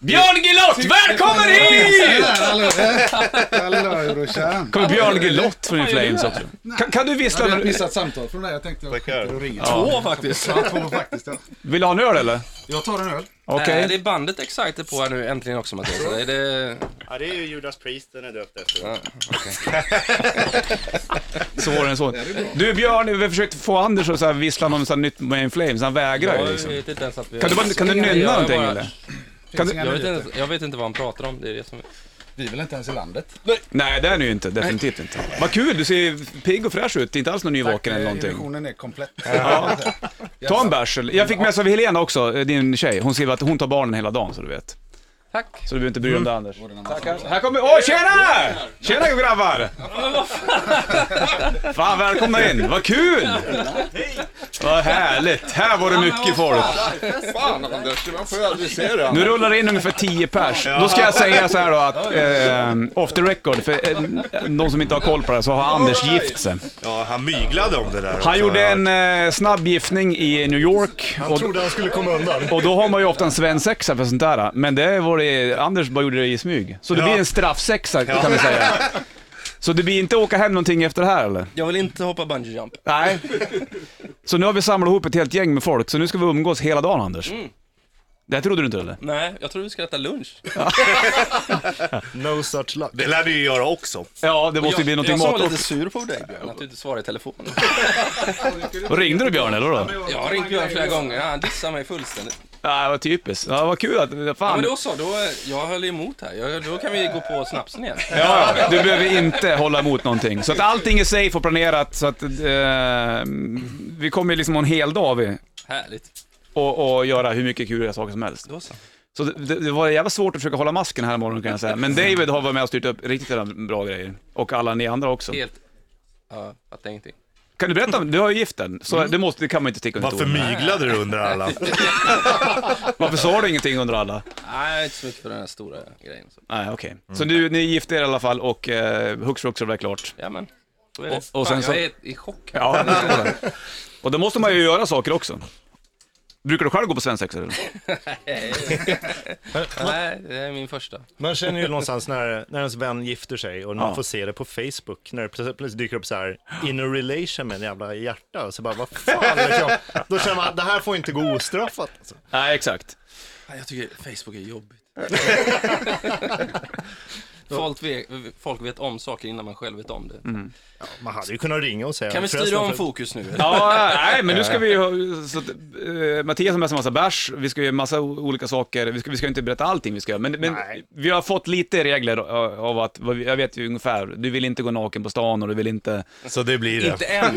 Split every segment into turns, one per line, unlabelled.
Björn Gilott, välkommen hit!
Hallå! Hallå brorsan!
kommer Björn Gilott från Inflames också. Kan, kan du
Jag
vissla?
hade ett
när du-
missat samtal från dig. Jag tänkte jag skiter och ringer.
Två faktiskt.
Ja, två faktiskt. Ja.
Vill du ha en öl eller?
Jag tar en öl.
Okej.
Nej, Eh, det är bandet Excited på här nu äntligen också Mattias. Det är det...
Ja, det är ju Judas Priest den är döpt efter.
Svårare än så. Du Björn, vi försökte få Anders att så här vissla något så här nytt med Inflames, han vägrar ju
Jag
liksom.
vet inte ens att vi...
Kan du, bara, kan du
Jag
nynna
bara-
någonting eller? Kan du...
Jag vet, inte, jag vet inte vad han pratar om. Det är det som...
Vi är väl inte ens i landet?
Nej, det är du ju inte. Definitivt inte. Vad kul, du ser pigg och fräsch ut. Det är inte alls någon nyvaken eller någonting.
Illusionen Eh, är komplett.
Ta en bärs. eller- Jag fick med av Helena också, eh, din tjej. Hon skriver att hon tar barnen hela dagen så du vet.
Tack!
Så du behöver inte bry dig om det Anders. Tackar. Här kommer... Åh, tjena! Tjena grabbar! Fan, välkomna in. Vad kul! Vad härligt. Här var det mycket folk.
Fan Anders, det var får jag aldrig se det.
Nu rullar det in ungefär 10 pers. Då ska jag säga så här då att, eh, off the record, för eh, de som inte har koll på det här, så har Anders gift sig.
Ja, han myglade om det där.
Han gjorde en eh, snabb giftning i New York. Och,
trodde han skulle komma undan.
och då har man ju ofta en svensexa för sånt där. Men det var det, Anders bara gjorde det i smyg. Så det
Ja.
blir en straffsexa kan vi säga. Så det blir inte åka hem någonting efter det här eller?
Jag vill inte hoppa bungee jump.
Nej. Så nu har vi samlat ihop ett helt gäng med folk, så nu ska vi umgås hela dagen Anders. Det här trodde du inte eller?
Nej, jag tror vi ska äta lunch.
No such luck.
Det lär vi ju göra också.
Ja, det måste ju bli
jag
någonting
jag som var
mat.
lite sur på dig Björn, att du inte svarade i telefon.
Och ringde du Björn eller då?
Jag har ringt Björn flera gånger, han dissar mig fullständigt.
Ja, vad typiskt. Ja, vad kul att...
Ja,
Fan.
men då så, då, jag höll emot här. Jag, då kan vi gå på snapsen igen.
Ja, ja. du behöver inte hålla emot någonting. Så att allting är safe och planerat, så att eh, vi kommer liksom ha en hel dag vi.
Härligt.
Och, och göra hur mycket kul saker som helst.
Då så.
Så det, det var jävla svårt att försöka hålla masken här imorgon kan jag säga. Men David har varit med och styrt upp riktigt jävla bra grejer. Och alla ni andra också.
Helt... Ja, jag fattar ingenting.
Kan du berätta om, du har ju gift den, så det, måste, det kan man inte sticka under
Varför
stolen med.
myglade du under alla?
Varför sa du ingenting under alla?
Nej, inte så mycket för den här stora grejen. Så.
Nej, okej. Så du, ni gifte er i alla fall och eh, hux flux så var det klart.
Jajamän. Så är det.
Och- och
Fan,
sen så-
jag är i chock. här.
Ja, det förstår jag. Och då måste man ju göra saker också. Brukar du själv gå på svensexor eller?
Eh, Nej, det är min första.
Man känner ju någonstans när, när ens vän gifter sig och man får se det på Facebook, när det plöts- plötsligt dyker upp så här in a relation med en jävla hjärta, och så bara vad fan vet jag? Då känner man, det här får inte gå ostraffat. Alltså.
Nej, exakt.
Nej, Jag tycker Facebook är jobbigt. folk, vet, folk vet om saker innan man själv vet om det.
Man hade ju kunnat ringa och säga.
Kan vi styra
"Förresten,
om
för-
fokus nu? eller?
Ja, nej, men nu ska vi ju... ha- Så att, eh, Mattias har med sig en massa bärs, vi ska göra massa o- olika saker, vi ska, vi ska inte berätta allting vi ska göra, men, men
Nej.
vi har fått lite regler av av att, vad vi- jag vet ju ungefär, du vill inte gå naken på stan och du vill inte...
Så det blir det.
Inte än.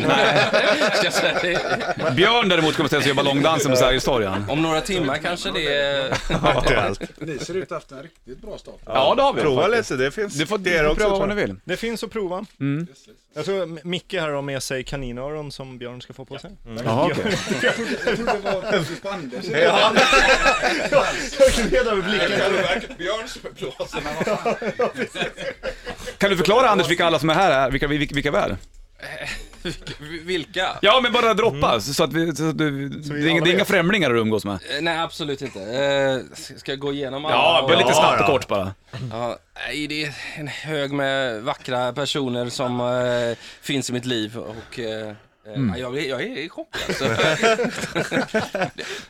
Ska jag säga det?
Björn däremot kommer ställa sig och göra ballongdansen på Sergels torg han.
om några timmar kanske det är...
Aktuellt.
Ni ser ut att ha haft en riktigt bra start.
Ja, det har vi.
Prova
faktiskt.
lite, det finns
Du får,
det
du
är
får
också.
pröva vad
tror
du
jag.
vill.
Det finns att prova.
Mm.
Jag tror M- Micke här har med sig kaninöron som Björn ska få på sig.
Jaha, okej.
Jag trodde det var faktiskt på Anders.
Jag gled över blicken.
Kan du förklara Anders vilka alla som är här är, vilka, vilka, vilka vi är?
Vilka?
Ja, men bara droppa, så att vi, så att du, det, är inga- det är inga främlingar du umgås med.
Eh, Nej, absolut inte. Eh, ska- Ska jag gå igenom alla?
Ja, bara lite
Ja,
snabbt och
ja.
kort bara.
Ja, nej, det är en hög med vackra personer som eh, finns i mitt liv och eh, eh,
Mm.
jag, är- jag är i chock alltså. det,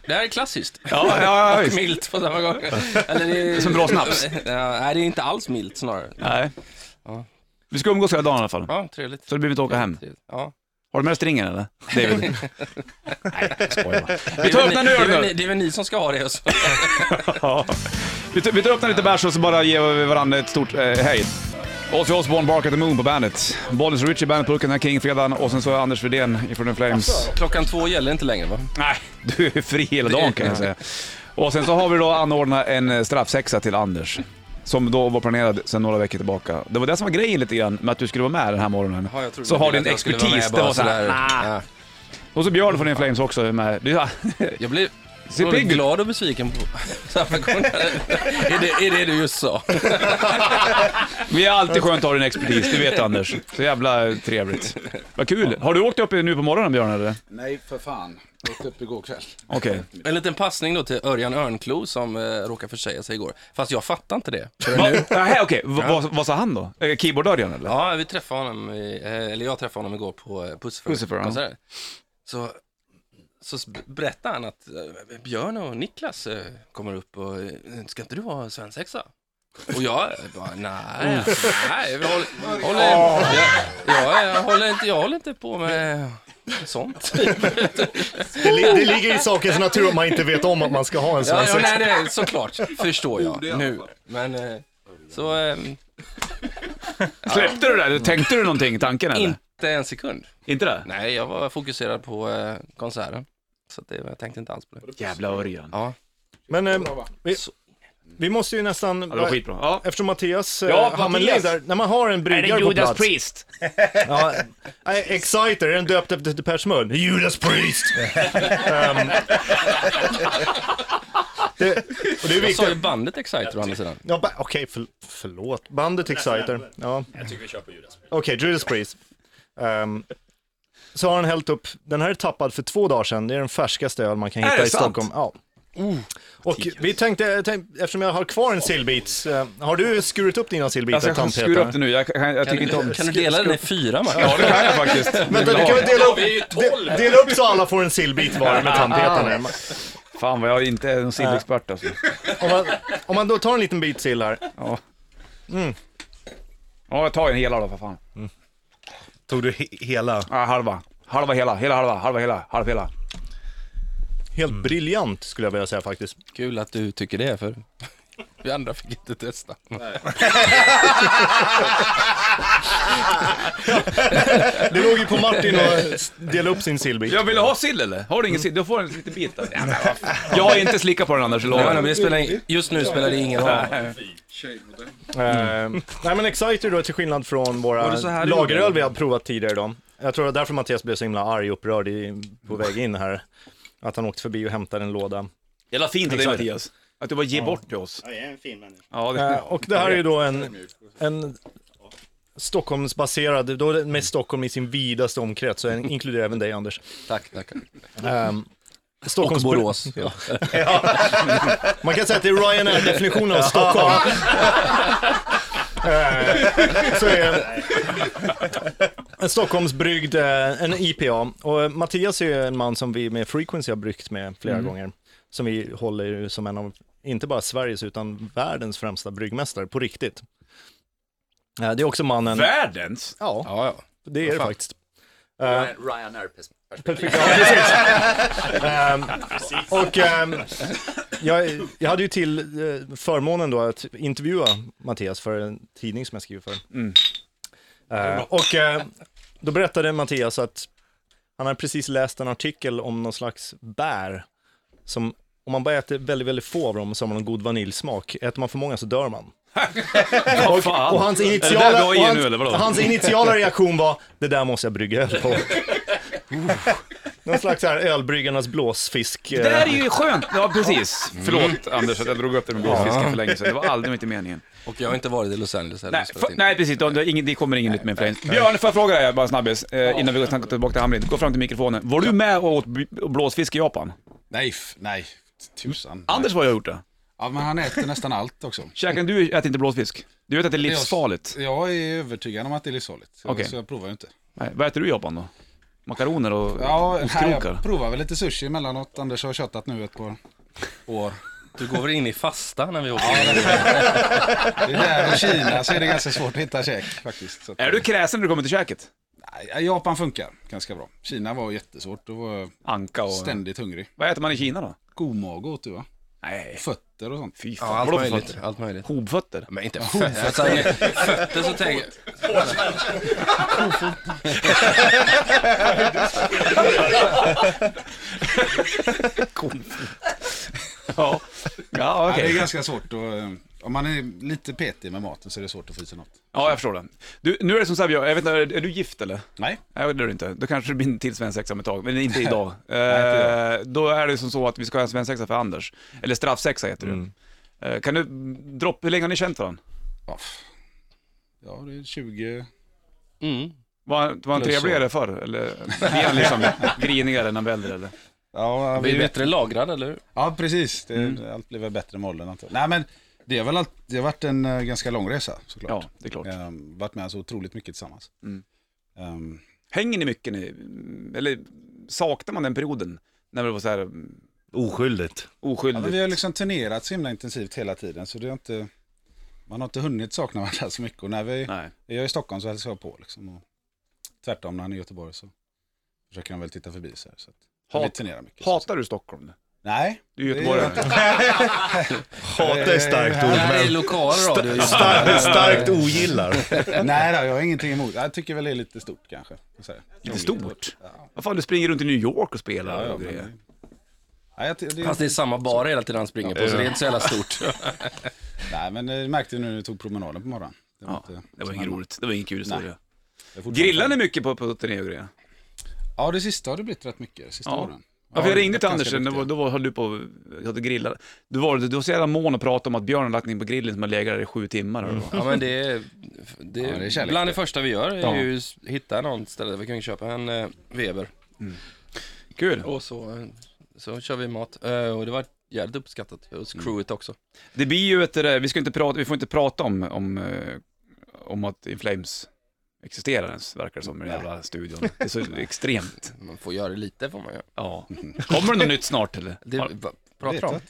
det här är klassiskt.
Ja, ja, ja,
Och
visst.
milt på samma gång. Eller det är,
Som bra snaps.
Ja, nej, det är inte alls milt snarare.
Nej.
Ja.
Vi ska umgås hela dagen i alla fall.
Ja, trevligt.
Så det blir inte åka hem.
Trevligt. Ja.
Har du med dig stringen eller? David? Nej, jag skojar bara. Vi
Det
tar
är väl
öppna en
ni- det är
öl
väl ni-
nu.
Det är väl ni som ska ha det. Alltså.
Ja. Vi tar- Vi tar öppna lite bärs och så bara ger vi varandra ett stort eh, hej. Ozzy Osbourne, Bark at the Moon på bandet. Bollnäs och Richie bandet på Burken här King-fredagen och sen så är Anders Widén ifrån The Flames.
Klockan två gäller inte längre va?
Nej, du är fri hela dagen kan jag säga. Och sen så har vi då anordnat en eh, straffsexa till Anders. Som då var planerad sedan några veckor tillbaka. Det var det som var grejen lite grann med att du skulle vara med den här morgonen.
Ja, jag trodde
så
ni
har
ville
din
att jag skulle vara
expertis,
med
det
bara
var såhär,
sådär.
nah.
Ja.
Och så Björn från In Flames också är med. Det är-
Jag blev
Ser
Både
pigg ut.
glad och besviken på samma gång. är, det, är det du just sa?
Vi är alltid skönt att ha din expertis, du vet Anders. Så jävla trevligt. Vad kul. Har du åkt upp nu på morgonen Björn eller?
Nej, för fan. Jag åt upp igår kväll.
Okej.
En liten passning då till Örjan Örnklo som eh, råkade försäga sig igår. Fast jag fattar inte det.
Va- Nähä, okej. Va- Vad vad sa han då? Eh, Keyboardörjan eller?
Ja, vi träffade honom, i, eh, eller jag träffade honom igår på eh,
Pusseför, ja.
Pusseför-konsert. Så, så s- berättade han att eh, Björn och Niklas eh, kommer upp och eh, ska inte du ha svensexa? Och jag eh, bara, nej, alltså, nej, jag håller, håller, jag, jag, håller inte, jag håller inte på med sånt.
Det, li- det ligger i sakens natur om man inte vet om att man ska ha en
Ja, ja,
svensexa.
nej, nej, såklart, förstår jag nu. Men eh, så, eh,
Släppte du det där? Tänkte du någonting i tanken eller?
inte en sekund.
Inte det?
Nej, jag var fokuserad på eh, konserten. Så att det, jag tänkte inte alls på det.
Jävla Örjan.
Ja.
Men eh, vi, vi måste ju nästan...
Ja, det var skitbra. Ja.
Eftersom Mattias
Ja,
ja, Hammenling
Mattias.
där, när man har en bryggare på plats.
Priest?
Ja, nej, Exciter, är den döpt efter Depeche Mode? Judas Priest! Ehm, det,
Jag
och det är
sa
viktigt.
ju bandet Exciter å andra sidan.
Ja, ba- Okej, för, förlåt. Bandet Exciter. Ja. Jag tycker vi kör på Judas Priest. Okej, Judas Priest. Ehm, så har han hällt upp, den här är tappad för två dagar sedan, det är den färskaste öl man kan hitta
det
i
sant?
Stockholm. Ja. Och vi tänkte, jag tänkte- eftersom jag har kvar en sillbit, eh, har du skurit upp dina sillbitar,
Alltså jag kan
Tant
skura
Peter?
upp det nu, jag, kan, jag tycker inte om...
Kan du dela den i fyra man?
Ja, det kan jag faktiskt.
Vänta, du kan väl dela upp, de, dela upp så alla får en sillbit var med tandpetarna.
Fan vad jag inte är någon sillexpert alltså.
Om man, om man då tar en liten bit sill här.
Ja. Mm. Ja, jag tar en hela då för fan.
Tog du he- hela?
Ja, halva. Halva hela, hela halva, halva hela, halva hela.
Helt briljant skulle jag vilja säga faktiskt.
Kul att du tycker det, för vi andra fick inte testa.
Det låg ju på Martin att dela upp sin sillbit.
Jag vill ha sill eller? Har du ingen sill? Du får en liten bit där. Jag har inte slickat på den Anders, jag
Ja,
lovar.
men det spelar in, just nu spelar det ingen roll.
Ehm, nej men Exciter då till skillnad från
Var
våra
det så här du
lageröl
gjorde?
vi har provat tidigare då. Jag tror det var därför Mattias blev så himla arg och upprörd i, på väg in här. Att han åkte förbi och hämtade en låda.
Jävla fint av dig Mattias. Att du bara ger bort till oss.
Jag är en fin människa.
Ja,
Eh,
det...
och det här är ju då en, en Stockholmsbaserad, då är det med Stockholm i sin vidaste omkrets, så jag inkluderar även dig Anders.
Tack, tack.
Um,
Och Borås.
Man kan säga att det är Ryanair-definitionen av Stockholm. Eh, Så är en Stockholmsbryggd, eh, en IPA. Och eh, Mattias är ju en man som vi med Frequency har bryggt med flera gånger. Som vi håller ju som en av, inte bara Sveriges, utan världens främsta bryggmästare på riktigt. Eh, Det är också mannen...
Världens?
Ja,
Ja, ja.
det är det faktiskt. Eh,
Ryanair-perspektiv.
Ja, precis. Ehm, och ehm, jag, jag hade ju till eh, förmånen då att intervjua Mattias för en tidning som jag skriver för. Eh, och eh, då berättade Mattias att han hade precis läst en artikel om någon slags bär som om man bara äter väldigt, väldigt få av dem så har man en god vaniljsmak. Äter man för många så dör man.
Vad fan?
Och hans
Är det där
initiala,
vi har
och
i nu,
hans,
eller vadå?
hans initiala reaktion var, det där måste jag brygga öl på. Uh. Någon slags så här ölbryggarnas blåsfisk.
Det här är ju skönt. Eh, Ja, precis. Mm. Förlåt Anders att jag drog upp det med blåsfisken för länge sedan. Det var aldrig inte meningen.
Och jag har inte varit i Los Angeles heller.
Nej,
så
för,
att-
nej precis. De, de, ingen, det kommer inget nytt med Flames. Björn, får jag fråga dig bara snabbis eh, innan vi går snacka tillbaka till Hamrin. Gå fram till mikrofonen. Var du med och åt b- blåsfisk i Japan?
Nej, f- nej. Tusan.
Anders var jag gjort det.
Ja, men han äter nästan allt också.
Käken, du äter inte blåsfisk. Du vet att det är livsfarligt.
Jag är övertygad om att det är livsfarligt. Så,
Okej.
så jag provar ju inte.
Nej, vad äter du i Japan då? Makaroner och
Ja, nej,
ostkrokar?
jag provar väl lite sushi emellanåt. Anders har köttat nu ett par år.
Du går väl in i fasta när vi åker?
Det är där i Kina så är det ganska svårt att hitta käk faktiskt. Så att,
Är du kräsen när du kommer till käket?
Nej, Japan funkar ganska bra. Kina var jättesvårt. Då var jag
Anka och...
ständigt hungrig.
Vad äter man i Kina då?
Komage åt du va?
Nej,
Fötter och sånt.
fy
Ja,
fan.
allt
Vadå för
möjligt.
fötter?
Allt möjligt.
Hovfötter?
Men inte fötter. Alltså, fötter så tänker jag...
Ja, ja okej.
Ja, det är ganska svårt att, eh, om man är lite petig med maten så är det svårt att få i sig något.
Ja, jag förstår det. Du, nu är det som så här, Björn, jag vet inte, är du gift eller?
Nej,
Nej, det är du inte. Då kanske det blir en till svensexa om ett tag, men inte idag. eh, då är det som så att vi ska ha en svensexa för Anders. Eller straffsexa heter det.
Mm.
Eh, kan du droppa, hur länge har ni känt varandra?
ja, f- ja det är 20...
Mm.
Var, var han
Plus
trevligare förr? Eller blir han liksom grinigare när han blir äldre eller?
Ja,
Vi är
vi,
bättre lagrad, eller hur?
ja precis. Det,
Mm.
Allt blir väl bättre med åldern antagligen. Nej men det, är väl allt, det har varit en eh, ganska lång resa såklart.
Ja, det är klart.
Ehm, varit med så otroligt mycket tillsammans.
Mm.
Ehm,
Hänger ni mycket nu? Eller saknar man den perioden? När det var så här mm,
eh,
Oskyldigt.
ja,
oskyldigt?
men vi har liksom turnerat så himla intensivt hela tiden så det är inte... Man har inte hunnit sakna varandra så mycket och när vi...
Nej.
Är jag i Stockholm så hälsar jag på liksom. Och tvärtom när han är i Göteborg så försöker han väl titta förbi så här. Så att
Hat-
vi turnerar mycket.
Hatar du Stockholm?
Nej,
Du är göteborgare.
Hata är starkt
Eh,
Det
ord,
här är
men
lokal radio. just nu.
starkt, starkt ogillar.
nej då, jag har ingenting emot. Jag tycker väl det är lite stort kanske. Så här.
Lite stort. Vad fan, du springer runt i New York och spelar och
men-
grejer.
Nej, jag, ty- det,
Fast det är samma bar hela tiden han springer på, så det är inte så jävla stort.
nej, men det märkte du när du tog promenaden på morgonen. Det var,
Ja,
inte-
det var inget roligt. Det var ingen kul historia.
det är fortfarande-
Grillar ni mycket på, på turné och grejer?
Ja, det sista har det blivit rätt mycket, de sista
Ja.
åren.
Ja, för jag ringde till
ganska
Anders, då,
duktiga.
var- då var- höll du på att grilla. Du var, du var så jävla mån att prata om att Björn har lagt in på grillen som har legat där i sju timmar. eller vad.
Mm.
Ja, men det är, det
Ja,
är,
det är kärlek.
bland det första vi gör är
Ja.
ju s- hitta något ställe där vi kan köpa en eh, Weber.
Kul.
Och så, eh, så kör vi mat. Eh, och det var jävligt uppskattat hos
Mm.
crewet också.
Det blir ju ett, det där- vi, ska inte prata, vi får inte prata om, om, eh, om att In Flames existerar ens, verkar det som, i den jävla studion. Det är så extremt.
Man får göra lite får man göra.
Ja.
Mm.
Kommer det något nytt snart eller?
Det,
Har,
va, pratar om.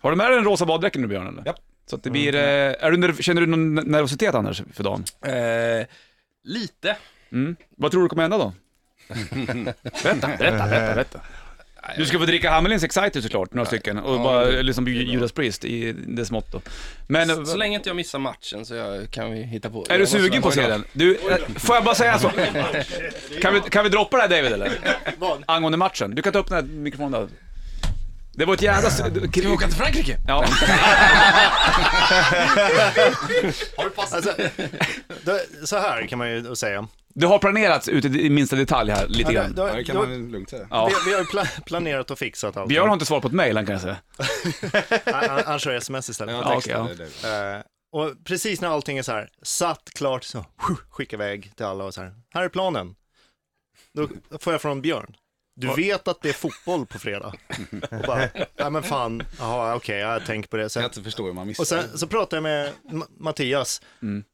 har du med dig den rosa baddräkten nu Björn eller?
Japp.
Så att det blir, eh, är du, nerv- känner du någon nervositet Anders för dagen?
Eh, lite.
Mm. Vad tror du kommer hända då? berätta, berätta, berätta, berätta. Du ska få dricka Hamelins Exciter såklart, några stycken. Och bara liksom Judas Priest i det smått då. Men eh,
Så länge inte jag missar matchen så jag, kan vi hitta på.
är du sugen på att se den? Du, eh, får jag bara säga så? Kan vi, kan vi droppa det här David eller?
Vad?
Angående matchen. Du kan ta upp den här mikrofonen där. Det var ett jävla... Ska vi åka till Frankrike? Ja.
Alltså, det, så här kan man ju säga.
Det har planerats ut i minsta detalj här lite
Ja,
grann.
det-
Ja, det
det-
kan man lugnt säga.
Ja.
Vi, vi har ju pla- planerat och fixat allt.
Björn har inte svarat på ett mail han kan jag säga.
Han, han- han kör sms istället.
Ja, okej, ja.
Det- det-
Eh, och precis när allting är så här satt, klart, så sju, skicka iväg till alla och så här, här är planen. Då får jag från Björn. Du vet att det är fotboll på fredag? Och bara, ja men fan, jaha okej, jag tänker på det.
Jag
Sen,
kan inte förstå hur man missar.
och sen så pratade jag med Ma- Mattias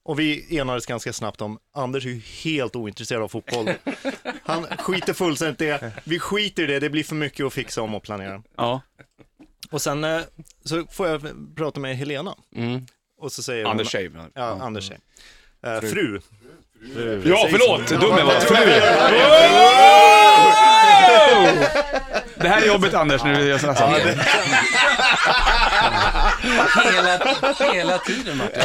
och vi enades ganska snabbt om, Anders är ju helt ointresserad av fotboll. Han skiter fullständigt i det, vi skiter i det, det blir för mycket att fixa om och planera.
Ja.
Och sen eh, så får jag prata med Helena.
Mm.
Och så säger hon,
Anders Shave.
Ja, Anders tjej. Eh, fru.
Ja, förlåt! Dum jag var. Fru. Det här är jobbigt Anders, när du gör sådana saker.
Hela, hela tiden Martin.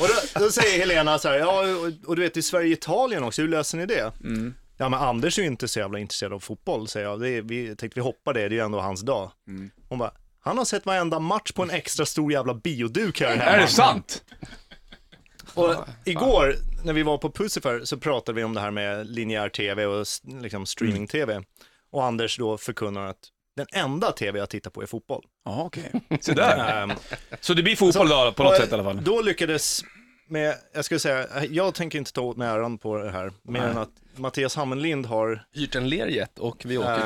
Och då, då säger Helena så här, ja och, och du vet i Sverige och Italien också, hur löser ni det? Ja men Anders är ju inte så jävla intresserad av fotboll, säger jag. Det är, vi jag tänkte vi hoppar det, det är ju ändå hans dag. Hon bara, han har sett varenda match på en extra stor jävla bioduk här hemma.
Är det sant?
Och igår när vi var på Pucifer så pratade vi om det här med linjär tv och s- liksom streaming-tv. Och Anders då förkunnar att den enda tv jag tittar på är fotboll.
Ja, okej. Så där.
Ehm,
Så det blir fotboll idag på något
Och,
sätt i alla fall?
Eh, Då lyckades, med, jag skulle säga, jag tänker inte ta åt mig äran på det här, mer än att Mattias Hammenlind har
Hyrt en lerjet och vi åker.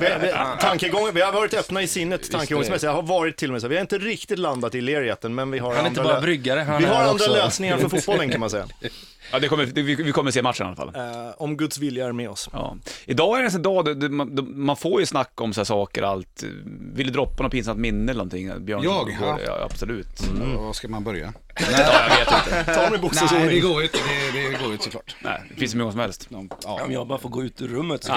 vi, vi, tankegången, vi har varit öppna i sinnet tankegångsmässigt. Jag har varit till och med så, här, vi har inte riktigt landat i lerjätten, men vi har
Han är inte
andra,
bara
lö-
bryggare, han
vi
är
har andra
också-
lösningar för fotbollen kan man säga.
Ja, det kommer, det, vi, vi kommer se matchen i alla fall.
Eh, om Guds vilja är med oss.
Ja. Idag är det en sån dag, där det, man, då- man får ju snacka om så här saker, allt. Vill du droppa något pinsamt minne eller någonting? Björn,
Jag?
Ja. ja absolut.
Ja, Var ska man börja?
Ja, jag vet inte.
Ta med
Nej, det
bokstavsordning.
går ju inte. Det, det går ju inte såklart.
Nej, det finns hur många som helst.
De,
Ja,
ja.
Om jag bara får gå ut ur rummet så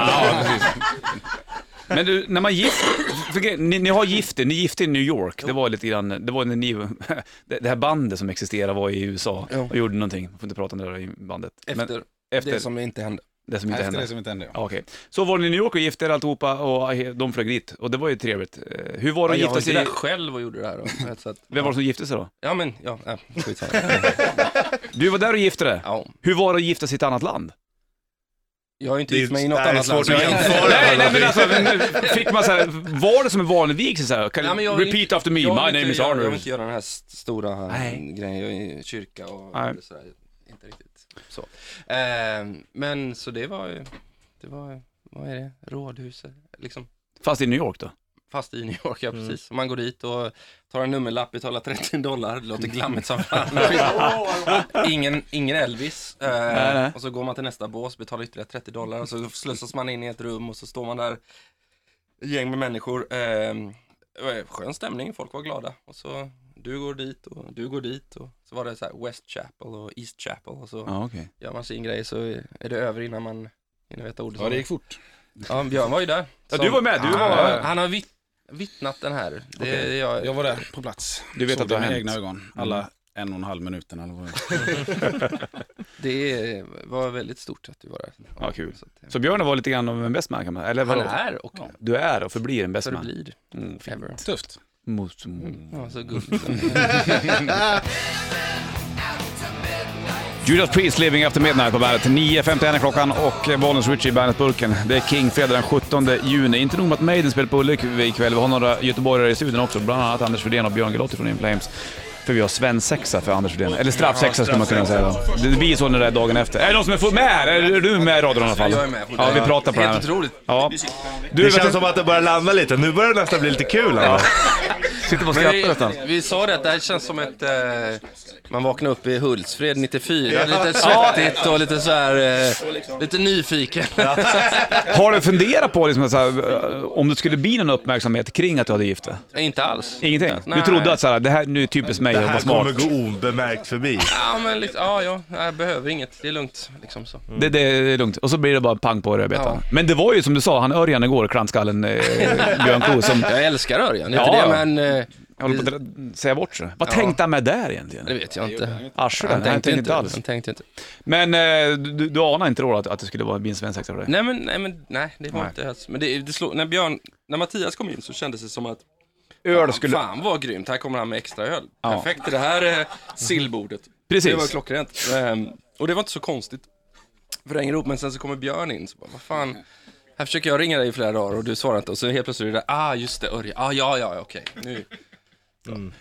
Men du, när man gift, för grej- ni, ni har gift er, ni gifte er i New York, det var lite grann, det var när ni, det, det här bandet som existerar var i USA
Ja.
och gjorde någonting, man får inte prata om det där i bandet. Men
efter,
efter
det som inte hände.
Det som inte
Efter det
hände.
som inte hände. ja.
Ja, Okej. Så var ni i New York och gifte er alltihopa och eh, de flög dit. Och det var ju trevligt. Eh, Hur var det att
jag
gifta
var
sig
inte
där?
själv och gjorde det här då. Så att,
Vem var det som gifte sig då?
Ja, men ja, äh, skitsamma.
Du var där och gifte dig.
ja.
Hur var det att gifta sig i ett annat land?
Jag har ju inte
Det är-
gift mig i något
nej, det är
annat land.
svårt
så jag
att
har-
jämföra.
Nej, nej men alltså, men, fick man så här, var det som en vanlig vigsel så här? Can
Nej, men jag
you
vill
repeat
inte-
after me, my
jag vill
name
inte
is
göra- Jag vill
Arnold.
inte göra den här st- stora
Nej.
grejen, jag är i kyrka och
Nej.
sådär. Inte riktigt så. Ehm, men så det var ju, det var, vad är det, rådhuset, liksom.
Fast i New York då?
Fast i New York, ja
Mm.
precis. Man går dit och tar en nummerlapp, betalar 30 dollar, det låter glammigt som fan. ingen, ingen Elvis. Ehm,
Nej, nej.
Och så går man till nästa bås, betalar ytterligare 30 dollar och så slussas man in i ett rum och så står man där, ett gäng med människor. Ehm, det var skön stämning, folk var glada. Och så du går dit och du går dit och så var det så här West Chapel och East Chapel och så
Ja, okej.
gör man sin grej så är det över innan man hinner veta ordet.
Ja, det gick fort.
Ja, Björn var ju där.
Ja, du var med, du
han,
var-
Han har vitt, vittnat den här. Det, jag,
Jag var där på plats.
Du vet
Såg
att det har
med
hänt.
egna ögon. Alla en och en halv minuten eller vad det var.
det var väldigt stort att du var där.
Ja, kul.
Så att, eh,
Så Björn var lite grann av en best man kan man Eller
han
vadå?
är och
Du är och förblir en best man.
förblir.
Mm,
Ever. Mm.
Tufft.
Mot-
Ja, så gulligt.
Judas Priest, Living After Midnight på bandet. 9.51 är klockan och Bonus Richie i bandet-burken. Det är King fredag den 17 juni. Inte nog med att Maiden spelar på Ullevi ikväll, vi har några göteborgare i studion också. Bland annat Anders Fridén och Björn Gelotti från In Flames. För vi har svensexa för Anders Fridén. Eller straffsexa skulle man kunna säga. då. Det blir så när det är dagen efter. Är det någon som är full med här? Är du med i radion i alla fall?
Jag är med.
Ja, vi pratar på det här.
Helt otroligt.
Ja. Du,
Det
vet
känns
du,
som att det börjar landa lite. Nu börjar det nästan bli lite kul. Ja.
sitter på och
Men
skrattar nästan.
Vi, vi sa det att det här känns som ett... Eh, man vaknar upp i Hultsfred 94, lite svettigt och lite så här... Eh, lite nyfiken.
Har du funderat på liksom, så här, om det skulle bli någon uppmärksamhet kring att du hade gift dig?
Inte alls.
Ingenting? Du
Nej.
trodde att så här, det här nu är typiskt mig
Det
att vara
här
smart?
kommer gå obemärkt förbi.
Ja, men lite, ja, ja, jag behöver inget. Det är lugnt, liksom så.
Det, det är lugnt. Och så blir det bara pang på rödbetan.
Ja.
Men det var ju som du sa, han Örjan igår, klantskallen eh, Björn Klo, som
Jag älskar Örjan, det är
Ja,
inte
ja.
det, men eh,
håller på att dra- säga bort sig. Vad
Ja.
tänkte han med där egentligen?
det vet jag inte.
Arslet? Han tänkte inte alls.
Han tänkte inte.
Men eh, du, du anar inte då att, att det skulle vara min svensexa för dig?
Nej, men nej, men, nej det var
Nej.
inte alls. Men det, det slog, när Björn, när Mattias kom in så kändes det som att
Öl skulle...
Fan vad grymt, här kommer han med extra öl.
Ja.
Perfekt i det här eh, sillbordet. Det var
Precis.
klockrent. Ehm, och det var inte så konstigt. För det hänger ihop, men sen så kommer Björn in, så bara, vad fan. Här försöker jag ringa dig i flera dagar och du svarar inte och så helt plötsligt är det där, ah just det, Örje, ah ja ja okej. Nu.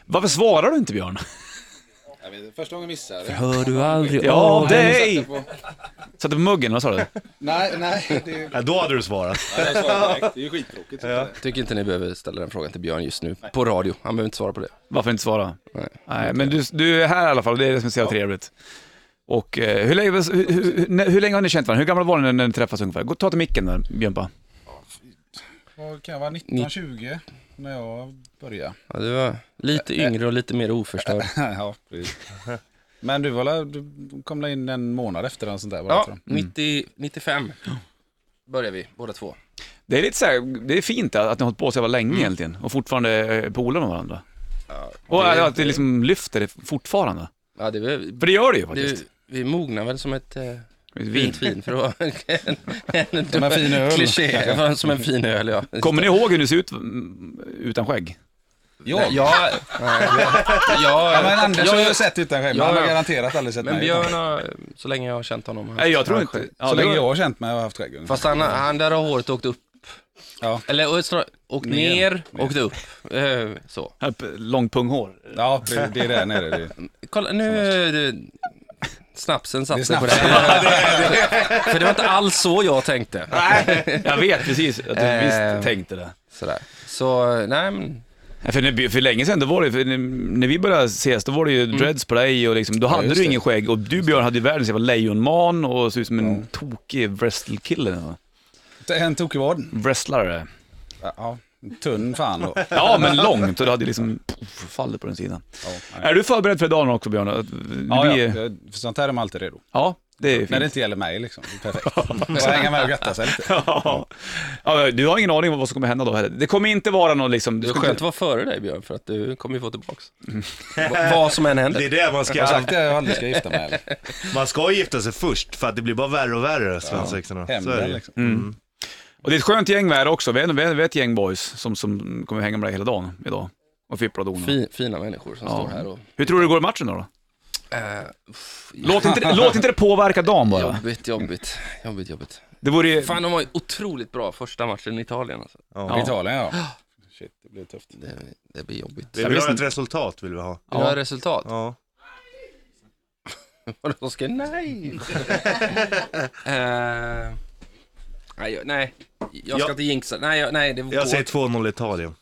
Varför svarar du inte Björn?
Jag vet, första gången missade jag.
Hör du aldrig
Ja, dig!
Satte på-
Satte på muggen, vad sa du?
Nej, nej. Det är,
Ja, då hade du svarat.
jag svarade direkt. det är ju skittråkigt. Ja.
Tycker inte ni behöver ställa den frågan till Björn just nu, på radio. Han behöver inte svara på det.
Varför inte svara?
Nej.
Nej, men du, du är här i alla fall, det är det som är så jävla trevligt. Och eh, hur, länge, hur, hur, hur, hur länge har ni känt varandra? Hur gamla var ni när ni träffades ungefär? Gå, ta till micken där, Björnpa.
Vad kan jag vara? 1920 när jag började.
Ja, du var lite yngre och lite mer oförstörd.
ja, precis. Men du, var, la- du kom la in en månad efter eller något sånt där? Bara,
Ja,
tror jag.
90, 95 börjar vi, båda två.
Det är lite så här, det är fint att att ni har hållit på så jävla länge egentligen och fortfarande är polare med varandra. och
det-
att det liksom lyfter det fortfarande.
Ja, det var,
För det gör det ju
det,
faktiskt.
vi mognar väl som ett eh,
Ett vin.
fint vin för att vara en, en,
Som en fin öl.
Kliché, för- som en fin öl ja.
Kommer ni ihåg hur ni ser ut mm, utan skägg?
Jag? Ja,
Ja, nej, ja,
men Anders
ja,
har ju
jag-
sett utan skägg.
Ja,
Han har
ja.
garanterat aldrig sett
Men
mig.
Björn har, så länge jag har känt honom. han-
Nej, jag tror
han-
inte.
Så
Ja, det
länge
var-
jag har känt mig har jag haft skägg.
Fast han, han där har håret åkt upp.
Ja.
Eller och snar- åkt ner,
Ner.
åkt upp. Eh, så.
Långt punghår.
Ja, det det är där nere. Det.
Kolla nu, du, snapsen satte
Det är
på det. För det var inte alls så jag tänkte.
Jag vet precis att du
Eh.
visst tänkte det.
Sådär. Så, nej men,
Ja, För, när- för länge sedan, då var det, för när- när vi började ses, då var det ju dreads på dig och liksom, då hade
Mm. just
du
det.
ingen skägg och du Björn hade ju världens jävla lejonman och såg ut som en tokig wrestlkille. va?
Det är En tokig vad?
Wrestlare.
Ja, tunn fan då.
Ja, men långt och du hade liksom poff, fallit på den sidan.
Ja, nej.
Är du förberedd för dagen också Björn? Att Det
ja,
blir-
ja, för sånt här är man alltid redo.
ja. Det är ju
När det
fint.
inte gäller mig liksom. Det är perfekt. Bara hänga med och gratta sig lite.
Ja. Ja, du har ingen aning om vad som kommer hända då heller. Det kommer inte vara någon liksom...
Det
Du
var
ska
skönt att
inte-
vara före dig Björn, för att du kommer ju få tillbaks. Va- Vad som än
Mm. Det är
händer.
det man
Jag har
ska,
sagt att jag aldrig ska gifta mig. eller?
man ska gifta sig först för att det blir bara värre och värre, svensexorna. Så är det.
Hemmen
ju.
liksom.
Mm. Och det är ett skönt gäng vi är också. Vi är, vi är, vi är ett gäng boys som, som kommer hänga med dig hela dagen idag. Och fippla och dona.
Fi, fina människor som
Ja.
står här och...
Hur tror du det går i matchen då? då?
Eh,
Låt, inte, låt inte det påverka dagen bara.
jobbigt, jobbigt, jobbigt, jobbigt.
Det vore ju...
Fan, de var ju otroligt bra första matchen i Italien alltså.
Ja.
Italien ja. Shit, det blir tufft.
Det, det blir jobbigt.
Vi
Jag
vill
visste
ha ett
inte.
resultat, vill vi ha.
Vill du ha resultat?
Ja.
Och då ska nej. Eh, nej, jag- nej, jag ska
Ja.
inte jinxa. Nej, jag, nej det går
Jag säger 2-0 Italien.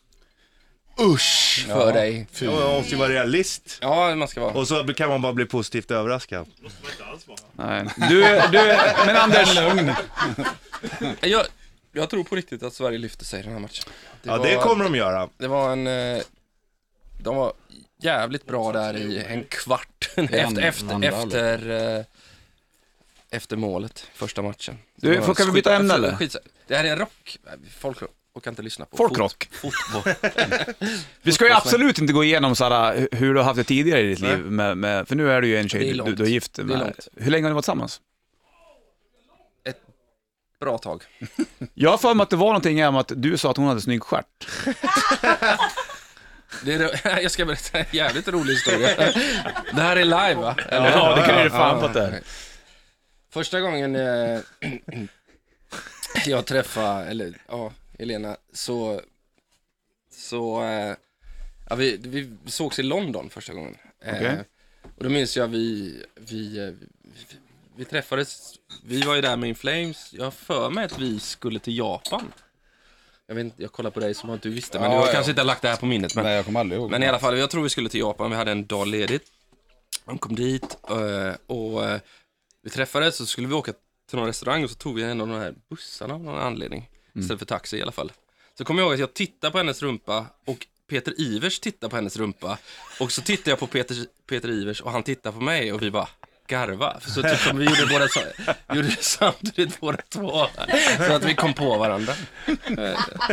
usch för dig.
Ja, man måste ju vara realist.
Ja, man ska vara.
Och så kan man bara bli positivt överraskad.
Nej. Du, är- du, är- men Anders,
Jag, jag tror på riktigt att Sverige lyfter sig i den här matchen.
Ja, det
var-
kommer de göra.
Det var en... eh, De var jävligt bra där i en kvart efter, efter,
andra
efter, eh, efter målet, första matchen.
Du,
Det var
får- kan vi byta
skit-
ämne, eller?
skitsa- Det här är en rock... Folk orkar inte lyssna på
Folkrock.
Fot, fotboll.
vi ska ju absolut inte gå igenom såhär, hur du har haft det tidigare i ditt liv. Med, med, för nu är du ju en
Det är
tjej, du,
långt.
du är gift.
Det är
Med,
långt.
hur länge har ni varit tillsammans?
Bra tag.
Jag har för mig att det var någonting om att du sa att hon hade snygg stjärt.
Det är, jag ska berätta en jävligt rolig historia. Det här är live va? Eller?
Ja, det kan du fan på att det är.
Första gången eh, jag träffade, eller ja, Elena, så, så, eh, ja, vi, vi sågs i London första gången. Eh,
Okej.
Och då minns jag vi, vi, eh, vi, vi träffades, vi var ju där med In Flames, jag har för mig att vi skulle till Japan. Jag, vet inte, jag kollar på dig som att du visste, men
Ja,
du har
ja.
kanske inte lagt det här på minnet. Men...
Nej, jag kommer aldrig ihåg.
Men i alla fall, jag tror vi skulle till Japan, vi hade en dag ledigt. De kom dit eh, och eh, vi träffades och så skulle vi åka till någon restaurang och så tog vi en av de här bussarna av någon anledning. Istället för taxi i alla fall. Så kommer jag ihåg att jag tittade på hennes rumpa och Peter Ivers tittade på hennes rumpa. Och så tittade jag på Peter, Peter Ivers och han tittade på mig och vi bara garva. För så typ som vi gjorde, båda, sa- gjorde samtidigt båda två. Så att vi kom på varandra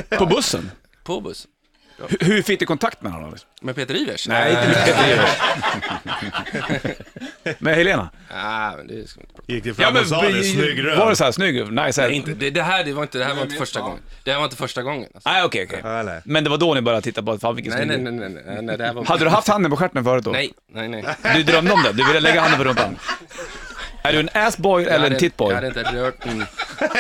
På bussen?
på bussen.
Hur, hur fick du kontakt med honom? liksom?
Med Peter Ivers?
Nej, inte med Peter Ivers. Med Helena?
Nej, Ah, men det ska vi inte prata om.
Gick det fram och sa det, snygg röv.
Var det såhär, snygg? Nice head?
Nej, inte, det, det här det var inte, det här var inte första gången. Det här var inte första gången. Alltså.
Nej, okej, okej.
Ja, nej.
Men det var då ni började titta på, fan vilken
Nej,
snygg
nej,
du är.
nej, nej, nej, nej, det här var...
Hade du haft handen på stjärten förut då?
Nej, nej, nej.
Du drömde om det? Du ville lägga handen på rumpan? Är du en assboy
Jag
eller
hade-
en titboy?
Jag hade inte rört... Mm.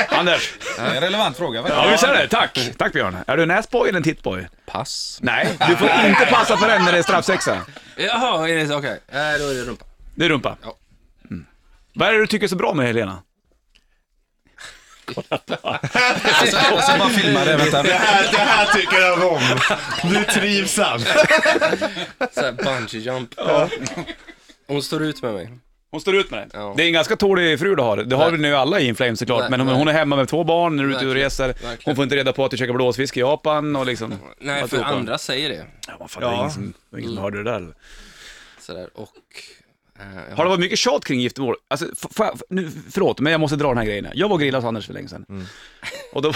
Anders?
Det är en relevant fråga. va?
Ja, vi säger det. Tack! Tack Björn. Är du en assboy eller en titboy?
Pass.
Nej, du får inte passa på den när det är straffsexa.
Jaha, är det så? Okej. Nej, då är det rumpa.
Det är rumpa.
Ja.
Mm. Vad är det du tycker är så bra med Helena?
Och så bara filmar det. Vänta.
Det här, det här tycker jag om. Du trivs han.
Såhär bungee jump. Hon står ut med mig.
Hon står ut med det.
Ja.
Det är en ganska tålig fru du har. Det har
Nej.
vi nu alla i Inflames såklart.
Nej,
men hon,
nej.
hon är hemma med två barn, när du är ute och
Verkligen.
reser. Hon
Verkligen.
får inte reda på att du käkar blåsfisk i Japan och liksom...
Nej,
Att
för
åka.
andra säger det.
Ja, Mm. vad fan, det är ingen som, det är ingen som hörde det där.
Sådär, och... eh,
Har det varit mycket tjat kring giftermål? Alltså, f- får jag, f- nu, förlåt, men jag måste dra den här grejen. här. Jag var och grillade hos Anders för länge sedan. Och, då,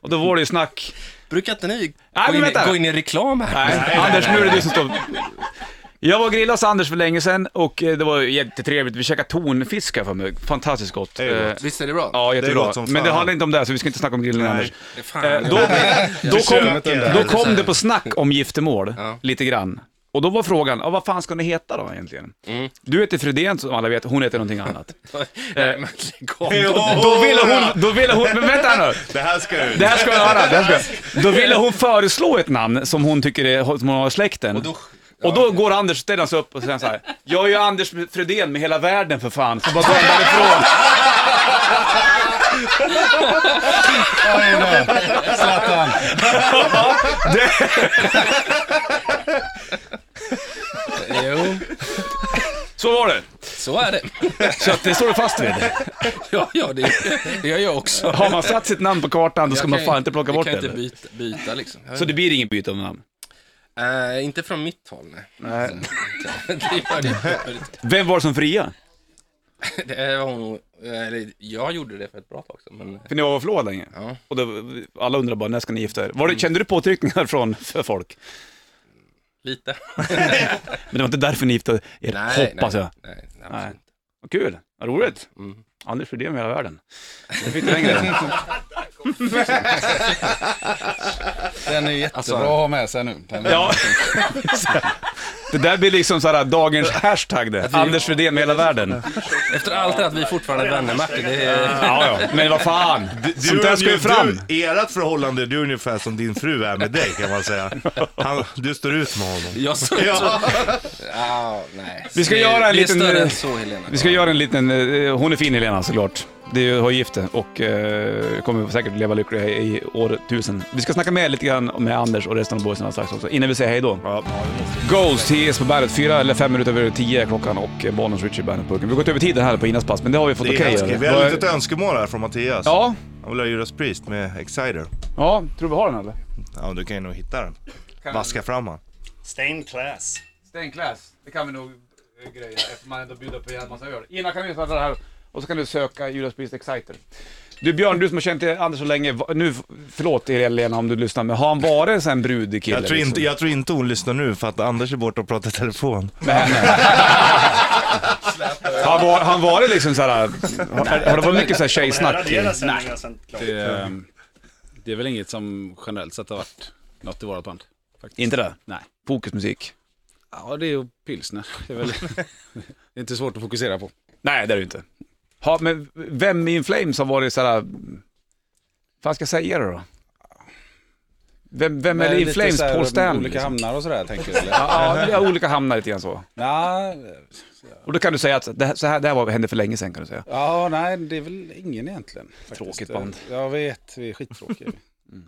och då var det ju snack.
Brukar inte ni
Nej,
gå,
men
in, i-
vänta.
gå in i reklam här?
Nej, Anders, nu är det du som står... Jag var och grillade hos Anders för länge sedan och eh, det var ju jättetrevligt. Vi käkade tonfisk här för mig. Fantastiskt gott.
Det är gott.
Eh,
Visst är det bra?
Ja, jättebra.
gott som
Men det
fan.
handlar inte om det, här, så vi ska inte snacka om grillen, Anders.
Fan,
Eh,
jag-
Då, då, kom,
Försök inte.
då kom det på snack om giftermål,
Ja.
lite grann. Och då var frågan, ah, vad fan ska ni heta då egentligen? Du heter Fredén som alla vet, hon heter någonting annat.
Nej, men lägg av.
Då ville hon, då ville hon, men vänta här nu.
Det här ska ut.
Det här ska jag höra, det här ska jag. Då ville hon föreslå ett namn som hon tycker är, som hon har i släkten. Och då, går Anders, ställer sig upp och säger så här. Jag är ju Anders Fredén med hela världen för fan. Så bara går han därifrån.
Oj då. Zlatan.
Jo,
Så var det.
så är det.
Så att det står du fast vid.
Ja, ja det, det gör jag också.
Har man satt sitt namn på kartan då ska
Jag
man
kan
fan
ju-
inte plocka bort
Jag
det.
kan inte byta, byta liksom. Jag
Så det blir inget byte av namn.
vet- Eh, inte från mitt håll, nej. nej. det gör det inte.
Vem var det som fria?
Det var hon, eller, jag gjorde det för ett bra tag sedan, men
För ni var på förlovad länge.
Ja.
Och då, alla undrar bara, när ska ni gifta er? Var det, kände du påtryckningar från för folk?
lite.
Men det var inte därför ni gifte er, hoppas
nej,
jag.
Nej, nej,
Nej.
absolut.
Vad kul, vad roligt.
Mm.
Anders Rydén med hela världen. Det fick du den grejen.
Den är jättebra
Alltså-
att ha med sig nu. Den,
Ja. Det där blir liksom så här dagens hashtag det. Anders Rydén med hela världen.
Efter allt det här att vi fortfarande är vänner, Martin, det är...
Ja, ja. Men vad fan, sånt där ska ju fram.
Du, ert förhållande, du är ungefär som din fru är med dig kan man säga. Han, du står ut med honom.
Jag så,
Ja.
ja, nej.
Vi ska
Det-
göra en
det är
liten- eh,
större än så, Helena.
Vi ska göra en liten, eh, hon är fin Helena såklart. Det är ju har gift det och eh, kommer säkert leva lycklig i årtusen. Vi ska snacka med lite grann med Anders och resten av boysen alldeles strax också, innan vi säger hej då.
Ja.
Ghost, he is på bandet. Fyra eller fem minuter över tio är klockan och eh, Bonus Richie bandet på Vi har gått över tiden här på Inas pass, men det har vi fått
Det är
okej
ganska-
okay,
Vi har ett litet önskemål här från Mattias.
Ja,
Han vill ha Judas Priest med Exciter.
ja, tror du vi har den eller?
Ja, du kan ju nog hitta den. Vaska fram han.
Stained class.
Stängklass, det kan vi nog eh, greja eftersom man ändå bjuder på en jävla massa öl. Innan kan vi starta det här och så kan du söka Judas Priest Exciter. Du Björn, du som har känt Anders så länge, va- nu, förlåt Helena om du lyssnar, men har han varit en sån här brudig kille?
Jag tror, inte,
liksom?
jag tror inte hon lyssnar nu för att Anders är borta och pratar i telefon.
Med henne? han, var, han varit liksom såhär, har, har det varit mycket såhär tjejsnack?
Nej.
det, Ehm, det är väl inget som generellt sett har varit något i vårt band. Faktiskt.
Inte det?
Nej.
Fokusmusik?
Ja, det är ju pilsner. Det är, väl, det är inte svårt att fokusera på.
Nej, det är det inte. Ha, men vem i In Flames har varit såhär, vad fan ska jag säga det då? Vem, vem är det i In
lite
Flames?
så här,
Paul Stanley?
Olika
liksom?
hamnar och sådär tänker du? Eller?
Ja, vi har olika hamnar lite grann så.
ja,
Och då kan du säga att det här, så här, det här var, hände för länge sedan kan du säga.
ja, nej, det är väl ingen egentligen. Faktiskt. Eh,
Tråkigt band. Mm.
Jag vet, vi är skittråkiga.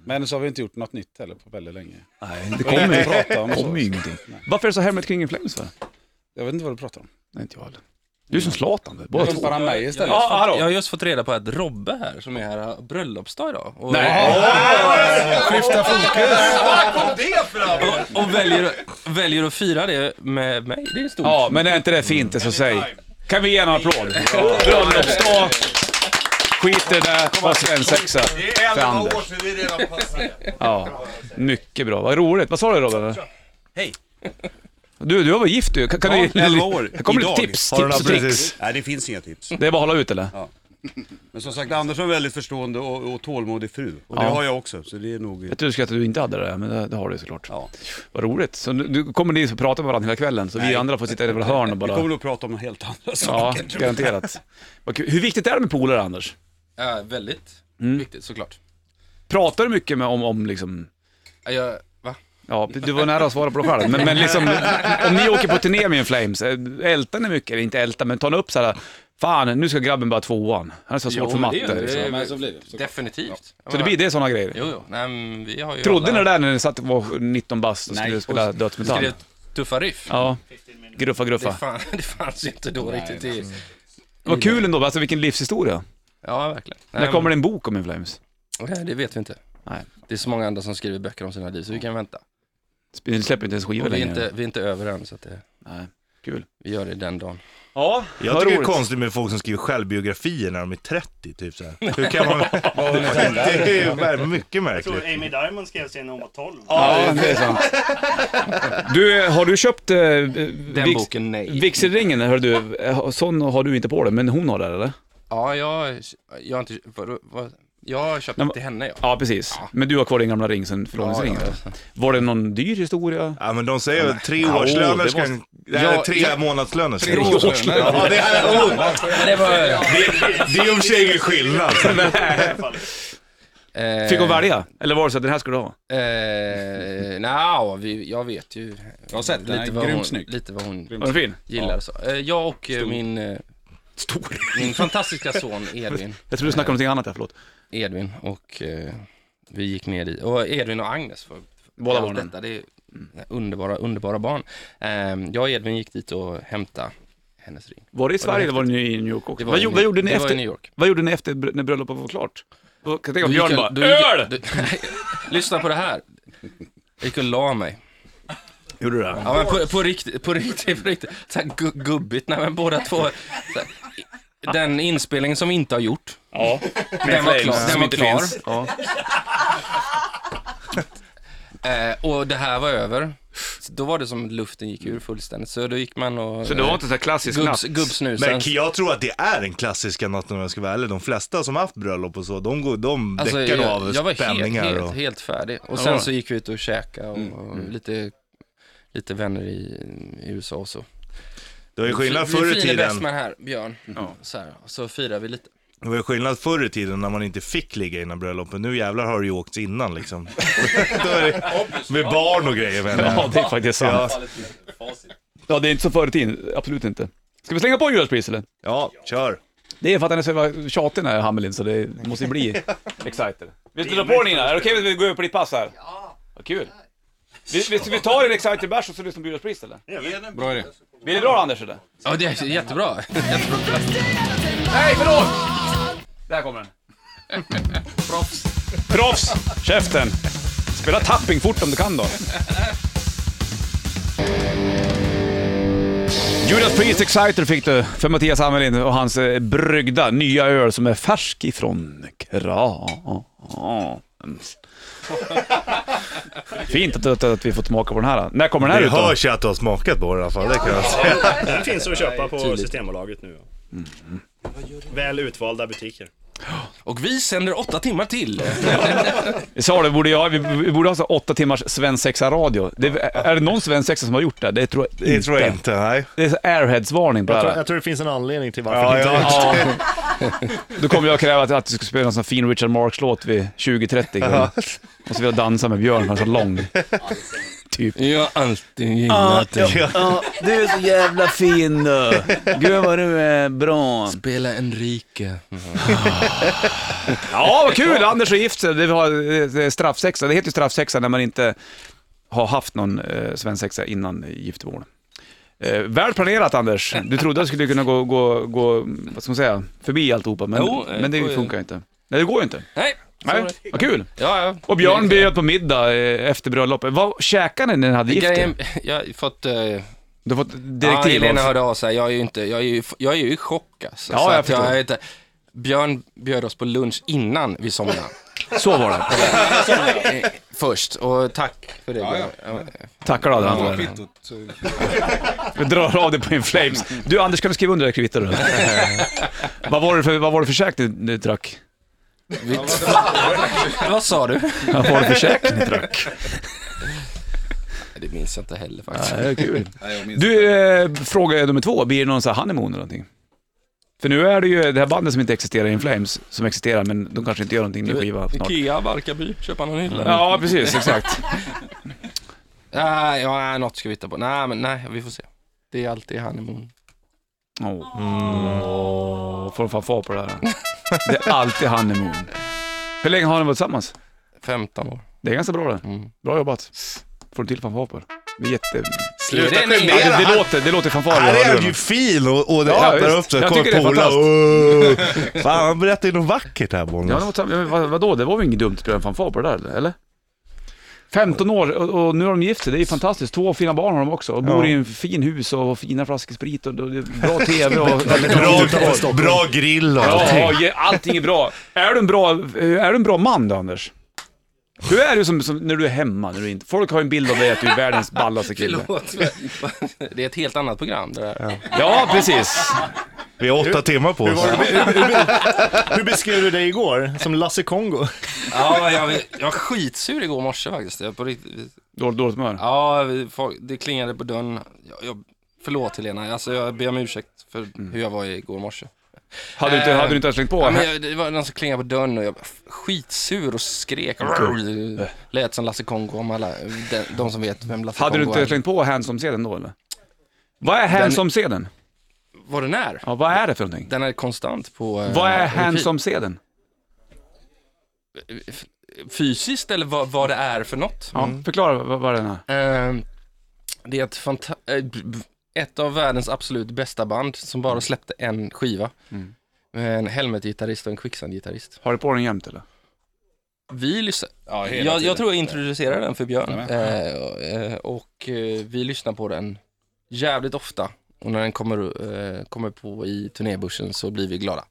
Men så har vi inte gjort något nytt heller på väldigt länge.
Nej, det
Vad är det vi
kommer
pratar om
kom
så?
ju ingenting.
Nej.
Varför är det så hemligt kring In Flames för?
Jag vet inte vad du pratar om.
Nej, inte jag heller. Du är som Zlatan, du. båda
Jag
två.
bara mig istället.
Ja, hallå.
Jag har just fått reda på att Robbe här, som är här, har bröllopsdag idag. Och,
Skifta fokus!
och, och väljer, väljer att fira det med mig. Det är stort.
Ja, men är inte det fint det så säg. Kan vi ge en applåd? Bröllopsdag. Skit i det där, var svensexa för Anders.
sedan, det är redan passerat.
Ja, mycket bra. Vad roligt. Vad sa du Robin?
Hej.
Du, du har varit gift du. Kan, kan
Ja,
du...
11 år.
Här kommer lite
Idag.
tips,
Har du
tips och
några-
tricks.
precis.
Nej, det finns inga tips.
Det är bara att hålla ut eller?
Men som sagt, Andersson är väldigt förstående och, och tålmodig fru. Och det
Ja.
har jag också, så det är nog...
Jag trodde du skulle att du inte hade det, där, men det, det har du såklart.
Ja.
Vad roligt. Så nu, du kommer ni att prata med varandra hela kvällen, så vi andra får sitta i våra hörn och
Vi
bara...
kommer nog prata om helt andra
Ja,
saker.
garanterat. Vad kul. Hur viktigt är det med polare, Anders?
Ja, väldigt
Mm.
viktigt såklart.
Pratar du mycket med, om, om liksom...
Ja, Jag, va?
Ja, du var nära att svara på det själv, men, men liksom, om ni åker på turné med en Flames, eh, ältar ni mycket? Eller inte älta, men tar ni upp så här, fan nu ska grabben bara tvåan, han är så svårt för
men det
matte.
gör det.
liksom.
men så blir det, såklart.
Definitivt.
Så det blir det sådana grejer?
Jo, jo. Nej, men vi har ju
Trodde ni
alla
det där när ni satt och var 19 bast och
Nej.
skulle spela dödsmetall?
skrev tuffa riff.
Ja, gruffa
Det,
gruffa.
fan, det fanns ju inte då riktigt. I,
Vad kul ändå, alltså vilken livshistoria.
ja, verkligen.
När kommer det en bok om In Flames?
det? Det vet vi inte.
Nej.
Det är så många andra som skriver böcker om sina liv, så vi kan vänta.
Ni släpper inte ens skivor
Och vi, är
längre.
inte, vi är inte över än, så att det,
Nej, kul.
vi gör det den dagen.
Ja,
Jag tycker det är konstigt med folk som skriver självbiografier när de är 30, typ så här. Hur kan man... det är ju mycket märkligt.
Amy Diamond skrev sin när hon var 12.
Ja, det är sant. Du, har du köpt eh,
Den
Vix-
boken, nej.
vigselringen? Hör du, Eh, sån har du inte på dig, men hon har det eller?
Ja, jag, jag har inte... Vad, vad, jag har köpt
Nej,
till henne, ja.
Ja, precis. Men du har kvar din gamla ring sen förlovningsringen.
Ja,
Var det någon dyr historia?
Ja men de säger väl tre
Ja,
årslöner
det
ska...
måste-
en- Nej,
Ja,
tre
ja.
månadslöner ska en-
årslöner.
Ja, det är oh,
Det var,
Det är ju i och för sig ingen skillnad.
eh,
Fick hon välja? Eller var det så att den här skulle du ha?
Eh, Nja, vi, jag vet ju.
Jag har sett den, den är
vad
grymt
hon,
snygg.
Lite vad hon
Var den fin?
gillar så. Eh, jag och eh, min... Eh, Min fantastiska son Edvin.
Jag tror du snackade om någonting annat här, förlåt.
Edvin och eh, vi gick ner dit. Och Edvin och Agnes. För, för
Båda
allt
barnen.
Detta, det är underbara, underbara barn. Eh, jag och Edvin gick dit och hämtade hennes ring.
Var det i Sverige eller var det i New York också?
Det var
Vad,
i
gjo-
New-
vad, gjorde ni
det var i
efter,
New York.
vad gjorde ni efter br- när bröllopet var klart? Då kan jag tänka
Då
mig
gick
Björn
jag-
bara
då gick jag-
ÖL!
då- Lyssna på det här. Jag gick och la mig.
Gjorde du det?
Ja men på, på riktigt, på riktigt, på riktigt. Så här gu, gubbigt, nej men båda två. Så här, den inspelningen som vi inte har gjort.
Ja.
Den var
Flames,
klar. Den
som
var
inte
klar.
finns. Ja.
Eh, och det här var över. Så då var det som luften gick ur fullständigt. Så då gick man och... eh,
Så det var inte så här klassisk natt?
gubbs, gubbsnusen.
Men jag tror att det är den klassiska natten om jag ska vara ärlig. De flesta som haft bröllop och så, de, går, de
Alltså,
däckar nog av
jag var helt,
spänningar.
helt,
och...
helt färdig. Och sen
Ja.
så gick vi ut och käkade och, och lite, lite vänner i, i USA och så.
Det var ju skillnad
Vi-
förr i
Vi firar bäst
tiden.
med den här, Björn. Mm. Så, här, och så firar vi lite.
Det var ju skillnad förr i tiden när man inte fick ligga innan bröllopet. Nu jävlar har det ju åkts innan liksom. Då är det, med barn och grejer menar jag.
Ja, det är faktiskt sant.
Ja,
Ja, det är inte så förr i tiden. Absolut inte. Ska vi slänga på Gullars eller?
ja, kör.
Det är för att han är så jävla tjatig den här Hamelin, så det måste ju bli excited. Vill du dra på den Nina? Är det okej om vi går över på ditt pass här? Ja! Vad kul! Vi, vi, vi tar en excited bärs och så lyssnar vi på Gullars eller?
Bra idé.
Blir det bra Anders eller?
Ja, det är jättebra.
Nej, förlåt! Där kommer den. Proffs. Proffs! Käften! Spela tapping fort om du kan då. Judas Priest Exciter fick du för Mattias Hamelin och hans eh, bryggda nya öl som är färsk ifrån Krams. Fint att, att, att vi fått smaka på den här. När kommer den här
Det
ut då?
hörs ju att du har smakat på det i alla fall. Det kan jag säga.
Den finns att köpa på Systembolaget nu. Väl utvalda butiker.
Och vi sänder åtta timmar till.
Vi sa det, borde jag, vi vi borde ha så åtta timmars svensexa-radio. Det, är det någon svensexa som har gjort det? Det tror jag
Det tror jag
inte.
inte. Nej.
Det är så airheads-varning på det
Jag tror,
här.
jag tror det finns en anledning till varför
Ja,
det inte
ja.
Då kommer jag kräva att, att du ska spela en sån fin Richard Marx-låt vid 20.30. Och så vill jag dansa med Björn, för han är så lång. Typ.
Jag har alltid gillat dig.
du är så jävla fin du. Gud vad du är bra.
Spela Enrique.
Ja, vad kul! Anders har gift sig. Det var eh, straffsexa. Det heter ju straffsexa när man inte har haft någon eh, svensexa innan giftermål. Eh, väl planerat Anders. Du trodde att du skulle kunna gå, gå, gå vad ska man säga, förbi alltihopa, men,
Jo, eh,
men det
går ju-
funkar ju inte. Nej, det går ju inte.
Nej.
Nej,
sorry.
vad kul!
Ja, ja.
Och Björn bjöd på middag eh, efter bröllopet. Vad käkade ni när ni hade gift er?
Grejen, jag har fått... eh,
Du har fått direktiv
Ja, Helena
av-
hörde av sig. Jag är ju, inte, jag är ju, jag är ju i chock alltså.
Ja,
Så
jag
att jag
förstår.
är inte, Björn bjöd oss på lunch innan vi somnade.
Så var det.
Eh, Först, och tack för det Björn.
Tackar du Adam.
Kvittot. eh,
Vi drar av det på In Flames. Du Anders, kan du skriva under det här kvittot då? vad, var det för, vad var det för käk du, du drack?
Vad sa du?
Vad var det för käk ni drack?
Det minns jag inte heller faktiskt.
Ja, det är kul.
nej, jag minns inte.
Du, eh, fråga nummer två. Blir det någon sån här honeymoon eller någonting? För nu är det ju det här bandet som inte existerar, In Flames, som existerar men de kanske inte gör någonting med skiva snart.
Ikea, Barkarby, köpa någon hylla.
Ja, precis, exakt.
Nej, ja, nej, något ska vi hitta på. Nej, men nej, vi får se. Det är alltid honeymoon.
Åh, Får de fan få på det här. Det är alltid honeymoon. Hur länge har ni varit tillsammans?
15 år.
Det är ganska bra det.
Mm.
Bra jobbat. Får du till fanfarer? Det är jätte...
Sluta
Är det en-
skämmas.
Ja, det, det låter, det låter fanfarer.
Här
i
är
radion.
ju fin och, och det
Ja,
öppnar
visst.
upp sig.
Jag
Kommer
tycker det är
polare, "Åh." Fan, han berättar ju något vackert här
Ja, det
Bollnäs.
var, ja, men vad, vadå, det var väl inget dumt att spela en fanfar på det där, eller? 15 år och, och nu har de gift sig, det är ju fantastiskt. Två fina barn har de också och bor i en fin hus och har fina flaskor sprit och, och det är bra tv och...
Bra, bra grill och allting.
Ja, ja, allting är bra. Är du en bra, är du en bra man då, Anders? Hur är du som, som när du är hemma? När du inte, folk har ju en bild av dig att du är världens ballaste kille.
Förlåt. Det är ett helt annat program det där.
Ja, precis.
Vi har åtta timmar på oss.
Hur beskrev du dig igår? Som Lasse Kongo?
Ja, jag, jag var skitsur igår morse faktiskt. Jag på riktigt,
Dåligt, dåligt humör.
Ja, vi- folk- det klingade på dörren. Jag, jag, förlåt Helena, alltså, jag ber om ursäkt för
Mm.
hur jag var igår morse.
Hade du inte, hade du inte ens slängt på?
Ja, men jag, det var någon som klingade på dörren och jag var f- skitsur och skrek.
Mm.
Lät som Lasse Kongo om alla, de, de som vet vem Lasse
Hade du
Kongo
inte
är.
slängt på handsome-sedeln då eller? Vad är handsome-sedeln?
Vad den är?
Ja, vad är det för någonting?
Den är konstant på... eh,
Vad är
repeat.
handsome-sedeln?
Fysiskt eller vad, vad det är för något? Mm.
Ja,
Mm.
förklara vad, vad den är.
Eh, det är ett, fanta- eh, b- b- ett av världens absolut bästa band som
Mm.
bara släppte en skiva.
Mm.
Med en Helmet-gitarrist och en Quicksand-gitarrist.
Har du på den jämt eller?
Vi lyssnar,
Ja, hela
jag,
tiden.
jag tror jag introducerade den för Björn.
Jajamän.
Eh, och, eh, och eh, vi lyssnar på den jävligt ofta. Och när den kommer, eh, kommer på i turnébussen så blir vi glada.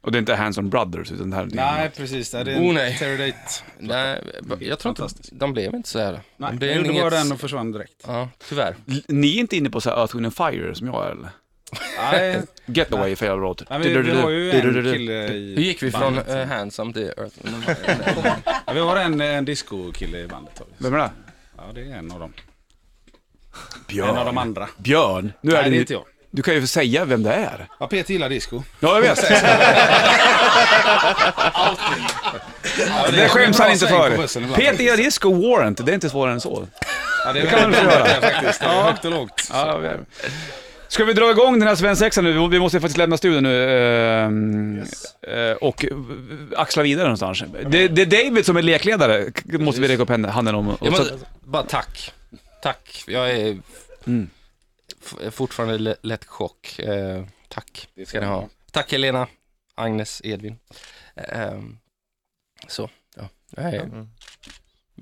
Och det är inte Hands on Brothers, utan det här är...
Nej, precis. Det är en
Oh,
oh,
nej.
nej.
Nej, eh, jag tror inte, de blev inte så här.
Nej,
Det är
jag gjorde
inget-
bara den och försvann direkt.
Ja, tyvärr.
L- Ni är inte inne på så här Earth, Wind and Fire som jag är eller?
Nej,
Getaway är fel låt.
nej men vi har ju en kille
Hur
i...
gick vi från eh, Handsome till Earth?
Ja, vi har en, en disco-kille i bandet. har vi.
Vem är det?
Ja, det är en av dem. En av
Björn.
de andra.
Björn. Nu är
Nej, det
det
är inte jag.
Du kan ju säga vem det är.
Ja, Peter gillar disco.
Ja, jag vet. Det skäms han inte för. Peter gillar disco och Warrant, det är inte svårare än så.
Ja, det är
kan man
väldigt
väl få göra.
bra faktiskt. Det är högt och lågt.
Ja, vi- eh. Ska vi dra igång den här svensexan nu? Vi måste faktiskt lämna studion nu ehm, eh, och eh, axla vidare någonstans. Det, det är David som är lekledare, k- måste vi räcka upp handen- handen om. Och
Jag
så,
måste, bara tack. Tack. Jag är
mm.
f- fortfarande le- lätt chock. Eh, tack ska ni ha. Tack Helena, Agnes, Edvin. Eh, ehm, så, ja. Jag är,
Mm.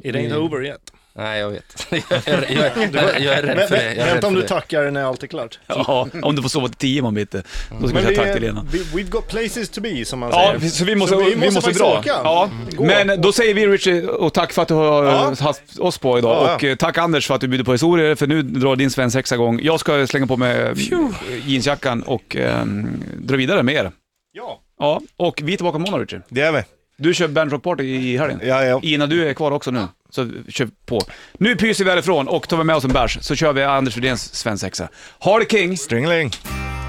It ain't
Mm.
over yet.
Nej, jag vet. Jag är, jag är, jag är rädd
Men,
för det.
vä-
Jag är rädd
vänta om
för
du
det.
tackar när allt är klart.
ja, om du får sova till tio imorgon bitti.
Mm.
Då ska vi
Men
säga
det
tack
är,
till Lena.
vi, we've got places to be, som man
Ja,
säger.
vi- så vi måste, vi måste,
faktiskt
dra.
åka.
Ja.
Gå.
Men då säger vi Richie och tack för att du har eh,
Ja.
haft oss på idag.
Ja, ja.
Och eh, tack Anders för att du bjuder på historier, för nu drar din svensexa igång. Jag ska slänga på mig eh, jeansjackan och ehm, dra vidare med er.
Ja.
Ja, och vi är tillbaka imorgon Richie.
Det är vi.
Du kör Band Rock Party i helgen.
Ja, ja.
Ina, du är kvar också nu, så kör på. Nu pyser vi härifrån och tar vi med oss en bärs, så kör vi Anders Rydéns svensexa. Ha det King!
Stringling.